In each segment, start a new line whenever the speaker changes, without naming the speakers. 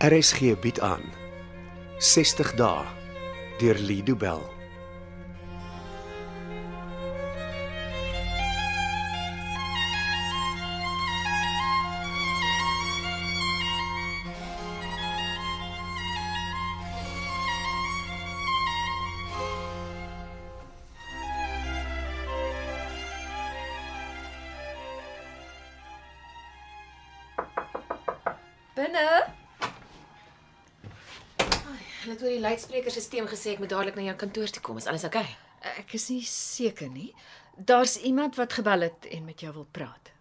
RSG bied aan 60 dae deur Lido Bell.
Binne.
Hulle het oor die luidsprekersisteem gesê ek moet dadelik na jou kantoor toe kom, is alles oukei? Okay?
Ek is nie seker nie. Daar's iemand wat gebel het en met jou wil praat.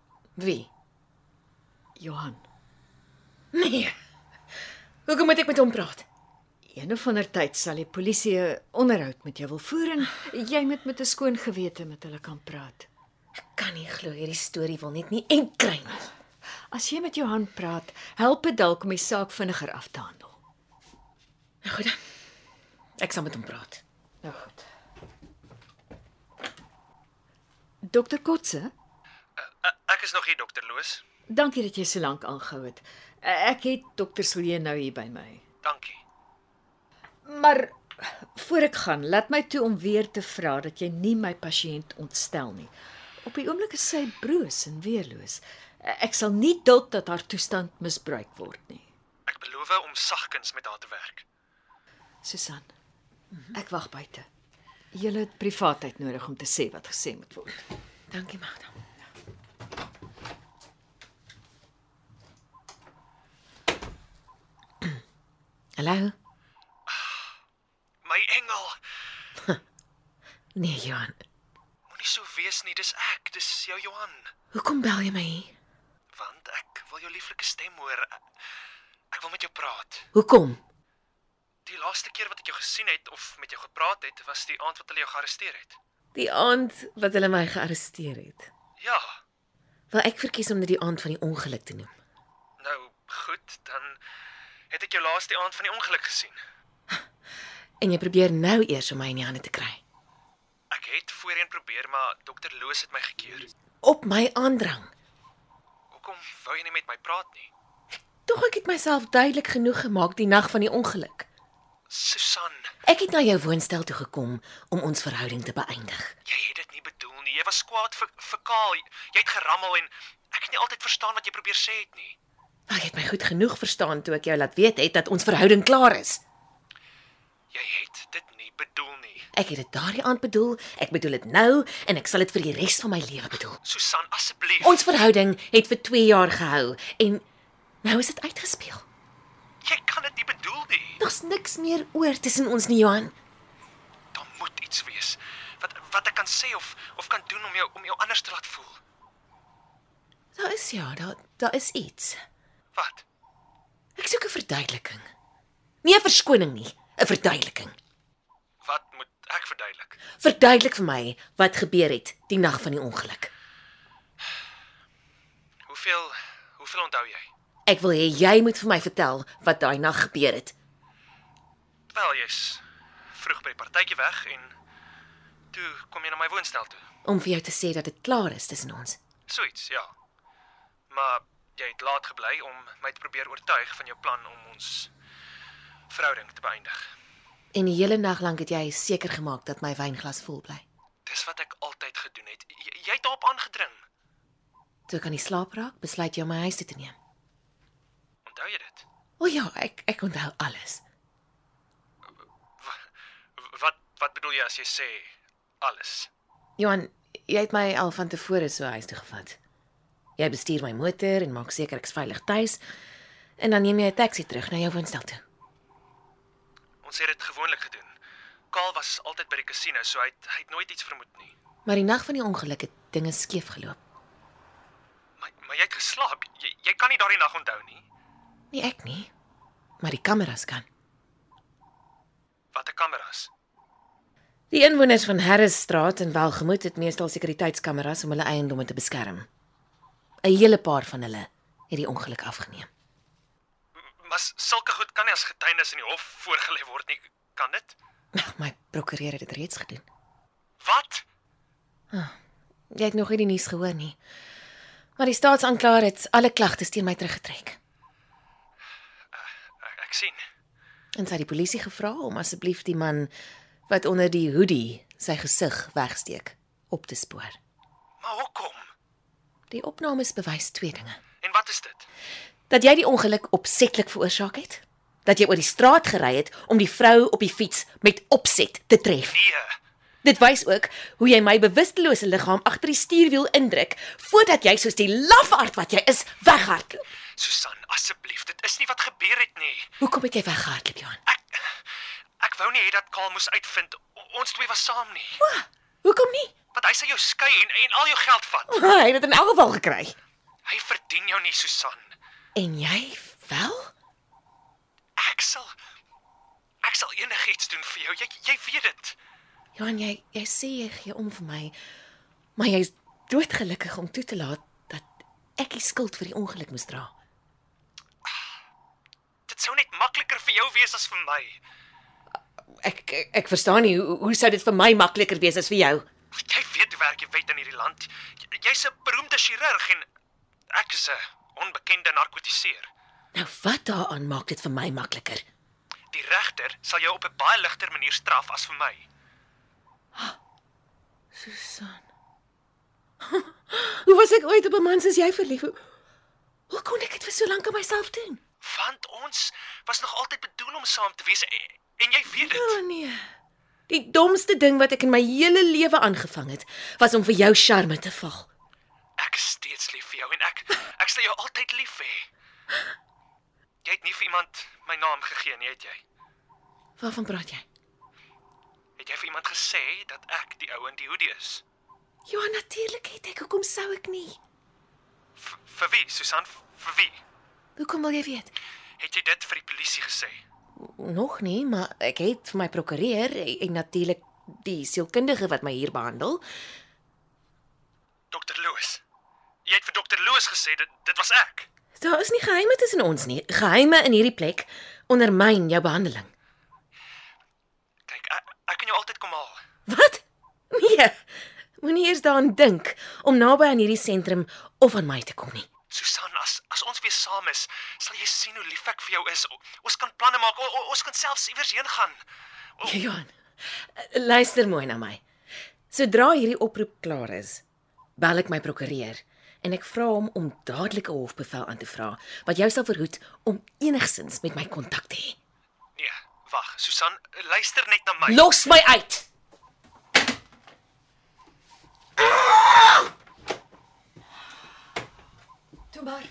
Wie?
Johan.
Nee. Hoekom moet ek met hom praat?
Een of ander tyd sal die polisie 'n onderhoud met jou wil voer en jy moet met 'n skoon gewete met hulle kan praat.
Ek kan nie glo hierdie storie wil net nie en kry nie.
As jy met Johan praat, help dit dalk om die saak vinniger af te handel.
Nou goed dan. Ek sal met hom praat.
Nou goed. Dokter Kotse,
Eh, Ek is nog hier dokter Loos.
dankie dat jy so lank aangehou het. Eh, Ek het dokter Silje nou hier by my.
Dankie.
Maar voor ek gaan, laat my toe om weer te vra dat jy nie my pasiënt ontstel nie. Op die oomblik is sy broos en weerloos. Ek sal nie duld dat haar toestand misbruik word nie.
Ek beloof om sagkens met haar te werk.
Susan, ek wag buite. Jy het privaatheid nodig om te sê wat gesê moet word.
Dankie, Magda. Hallo?
My engel,
Nee, Johan.
moenie so wees nie, dis ek, dis jou Johan,
Hoekom bel jy my hier?
want ek wil jou lieflike stem hoor. Ek- Ek wil met jou praat.
Hoekom?
Die laaste keer wat ek jou gesien het of met jou gepraat het, was die aand wat hulle jou gearresteer het.
Die aand wat hulle my gearresteer het.
Ja.
Wel, ek verkies om dit die aand van die ongeluk te noem.
Nou, goed, dan het ek jou laas die aand van die ongeluk gesien.
En jy probeer nou eers om my in die hande te kry.
Ek het voorheen probeer, maar dokter Loos het my gekeer.
Op my aandrang.
Hoekom wou jy nie met my praat nie?
Tog ek het myself duidelik genoeg gemaak die nag van die ongeluk.
Susan,
Ek het na jou woonstel toe gekom om ons verhouding te beëindig.
Jy het dit nie bedoel nie. Jy was kwaad vir vir Kaal. Jy- Jy het gerammel en ek het nie altyd verstaan wat jy probeer sê het nie.
Maar jy het my goed genoeg verstaan toe ek jou laat weet het dat ons verhouding klaar is.
Jy het dit nie bedoel nie.
Ek het dit daardie aand bedoel, ek bedoel dit nou en ek sal dit vir die res van my lewe bedoel.
Susan, asseblief.
Ons verhouding het vir 2 jaar gehou en nou is dit uitgespeel.
jy kan dit nie bedoel nie.
Daar's niks meer oor tussen ons nie, Johan.
Daar moet iets wees wat wat ek kan sê of of kan doen om jou om jou anders te laat voel.
Daar is ja, daar daar is iets.
Wat?
Ek soek 'n verduideliking. Nie 'n verskoning nie, 'n verduideliking.
Wat moet ek verduidelik?
Verduidelik vir my wat gebeur het die nag van die ongeluk.
Hoeveel hoeveel onthou jy?
Ek wil hê jy moet vir my vertel wat daai nag gebeur het.
Wel, jy's vroeg by die partytjie weg en toe kom jy na my woonstel toe.
om vir jou te sê dat dit klaar is tussen ons.
Suits, ja. Maar jy het laat gebly om my te probeer oortuig van jou plan om ons verhouding te beëindig.
En die hele nag lank het jy seker gemaak dat my wynglas vol bly.
Dis wat ek altyd gedoen het. J jy het daarop aangedring.
Toe kan jy slaap raak, besluit jy om my huis toe te neem.
Onthou jy dit?
O ja, ek ek onthou alles.
W- Wat wat bedoel jy as jy sê alles?
Johan, jy het my al van tevore so huis toe gevat. Jy bestuur my motor en maak seker ek's veilig tuis. En dan neem jy 'n taxi terug na jou woonstel toe.
Ons het dit gewoonlik gedoen. Kaal was altyd by die kasino, so hy het, hy het nooit iets vermoed nie.
Maar die nag van die ongeluk het dinge skeef geloop.
Maar maar jy het geslaap. Jy, jy kan nie daardie nag onthou nie.
Nie ek nie, maar die kameras kan.
Watter kameras?
Die inwoners van Harrisstraat en Welgemoot het meestal sekuriteitskameras om hulle eiendomme te beskerm. 'n Hele paar van hulle het die ongeluk afgeneem.
M- Maar s- sulke goed kan nie as getuienis in die hof voorgelê word nie. Kan dit?
Ag, my prokureur het dit reeds gedoen.
Wat?
Jy het nog nie die nuus gehoor nie. Maar die staatsanklaer het alle klagtes teen my teruggetrek.
Ek, ek sien.
En sy het die polisie gevra om asseblief die man wat onder die hoodie sy gesig wegsteek op te spoor.
Maar hoekom?
Die opnames bewys twee dinge:
En wat is dit?
dat jy die ongeluk opsetlik veroorsaak het, dat jy oor die straat gery het om die vrou op die fiets met opset te tref.
Nee,
Dit wys ook hoe jy my bewustelose liggaam agter die stuurwiel indruk voordat jy soos die lafaard wat jy is weghardloop.
Susan, asseblief, dit is nie wat gebeur het nie.
Hoekom het jy weggehardloop, Johan?
Ek ek wou nie hê dat Kaal moes uitvind o- ons twee was saam nie.
Hoekom nie?
Want hy sê jou skei en en al jou geld vat.
Hy het dit in elk geval gekry.
Hy verdien jou nie, Susan.
En jy wel?
Ek sal ek sal enigiets doen vir jou. Jy jy weet dit.
Johan, jy jy sê jy gee om vir my, maar jy's doodgelukkig om toe te laat dat ek die skuld vir die ongeluk moes dra.
Dit sou net makliker vir jou wees as vir my.
Ek ek, ek verstaan nie hoe hoe sou dit vir my makliker wees as vir jou?
Jy weet hoe werk jy wet in hierdie land. J- Jy's 'n beroemde chirurg en ek is 'n onbekende narkotiseer.
Nou wat daaraan maak dit vir my makliker?
Die regter sal jou op 'n baie ligter manier straf as vir my.
Susan. hoe was ek ooit op 'n man soos jy verlief? Hoe, hoe kon ek dit vir so lank aan myself doen?
Want ons was nog altyd bedoel om saam te wees en, en jy weet dit.
O oh, nee. Die domste ding wat ek in my hele lewe aangevang het, was om vir jou charme te val.
Ek is steeds lief vir jou en ek ek sal jou altyd lief hê. Jy het nie vir iemand my naam gegee nie, het jy?
Waarvan praat jy?
Het jy vir iemand gesê dat ek die ou in die hoodie is?
Ja, natuurlik het ek. Hoekom sou ek nie?
V vir wie, Susan? V vir wie?
Hoekom wil jy weet?
Het jy dit vir die polisie gesê?
Nog nie, maar ek het vir my prokureur en- en natuurlik die sielkundige wat my hier behandel.
Dokter Loos. Jy het vir dokter Loos gesê dit dit was ek.
Daar is nie geheime tussen ons nie. Geheime in hierdie plek ondermyn jou behandeling.
Kyk, ek, ek kan jou altyd kom haal.
Wat? Nee. Moenie eers daaraan dink om naby aan hierdie sentrum of aan my te kom nie.
Susan, as as ons weer saam is, sal jy sien hoe lief ek vir jou is. O, ons kan planne maak. O, o, ons kan selfs iewers heen gaan. O,
Johan, Oh. luister mooi na my. Sodra hierdie oproep klaar is, bel ek my prokureur en ek vra hom om dadelik 'n hofbevel aan te vra wat jou sal verhoed om enigsins met my kontak te hê.
nee, wag. Susan, luister net na my.
Los my uit.
Toe maar.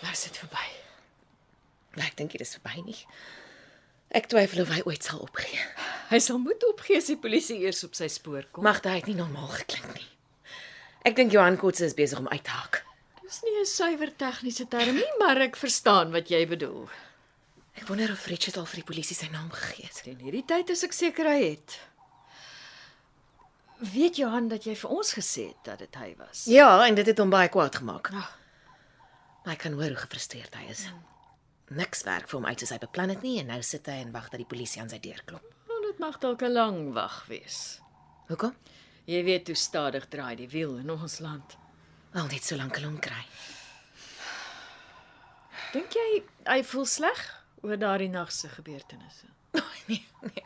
Nou is dit verby.
Nou, ek dink dit is verby nie. Ek twyfel of hy ooit sal opgee.
Hy sal moet opgee as die polisie eers op sy spoor kom.
Magda het nie normaal geklink nie. Ek dink Johan Kotse is besig om uit te hak.
Dis nie 'n suiwer tegniese term nie, maar ek verstaan wat jy bedoel.
Ek wonder of Richard al vir die polisie sy naam gegee het.
Teen hierdie tyd is ek seker hy het. Weet Johan dat jy vir ons gesê het dat dit hy was?
Ja, en dit het hom baie kwaad gemaak.
Ja.
Maar ek kan hoor hoe gefrustreerd hy is. Niks werk vir hom uit soos hy beplan het nie en nou sit hy en wag dat die polisie aan sy deur klop.
Nou, dit mag dalk 'n lang wag wees.
Hoekom?
Jy weet hoe stadig draai die wiel in ons land.
Wel net so lank hulle hom kry.
Dink jy hy voel sleg oor daardie nag se gebeurtenisse?
Nee, nee.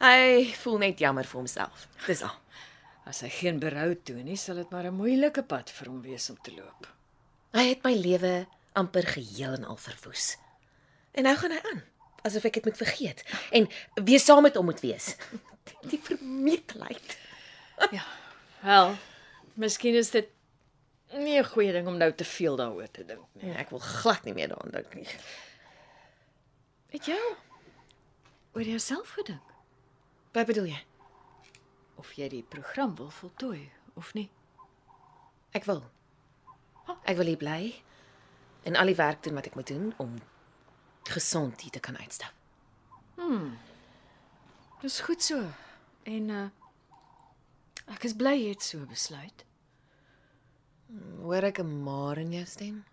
Hy voel net jammer vir homself. Dis al.
As hy geen berou toon nie, sal dit maar 'n moeilike pad vir hom wees om te loop.
Hy het my lewe amper geheel en al verwoes. En nou gaan hy aan asof ek dit moet vergeet en weer saam met hom moet wees. Die vermetelheid.
Wel, miskien is dit nie 'n goeie ding om nou te veel daaroor te dink nie.
Nee, ek wil glad nie meer daaraan dink nie.
Het jy al oor jouself gedink
Wat bedoel jy?
of jy die program wil voltooi of nie?
Ek wil. Ek wil hier bly en al die werk doen wat ek moet doen om gesond hier te kan uitstap.
Dis goed so. En uh ek is bly jy het so besluit.
Hoor ek 'n maar in jou stem?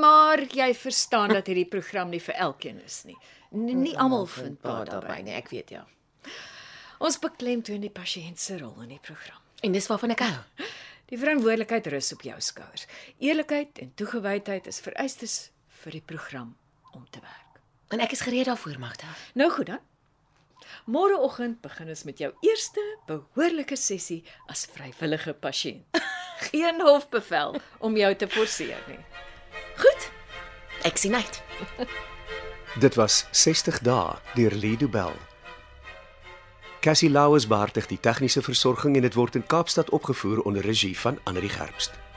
Maar jy verstaan dat hierdie program nie vir elkeen is nie. Nie, nie almal vind baat daarby.
nie, ek weet ja.
Ons beklemtoon die pasiënt se rol in die program.
En dis waarvan ek hou.
Die verantwoordelikheid rus op jou skouers. Eerlikheid en toegewydheid is vereistes vir die program om te werk.
En ek is gereed daarvoor, Magda.
Nou goed dan. Môreoggend begin ons met jou eerste behoorlike sessie as vrywillige pasiënt. Geen hofbevel om jou te forceer nie.
Goed. Ek sien uit.
Dit was 60 dae deur Lido Bell. Cassie Lauers beheer die tegniese versorging en dit word in Kaapstad opgevoer onder regie van Anri Gerbst.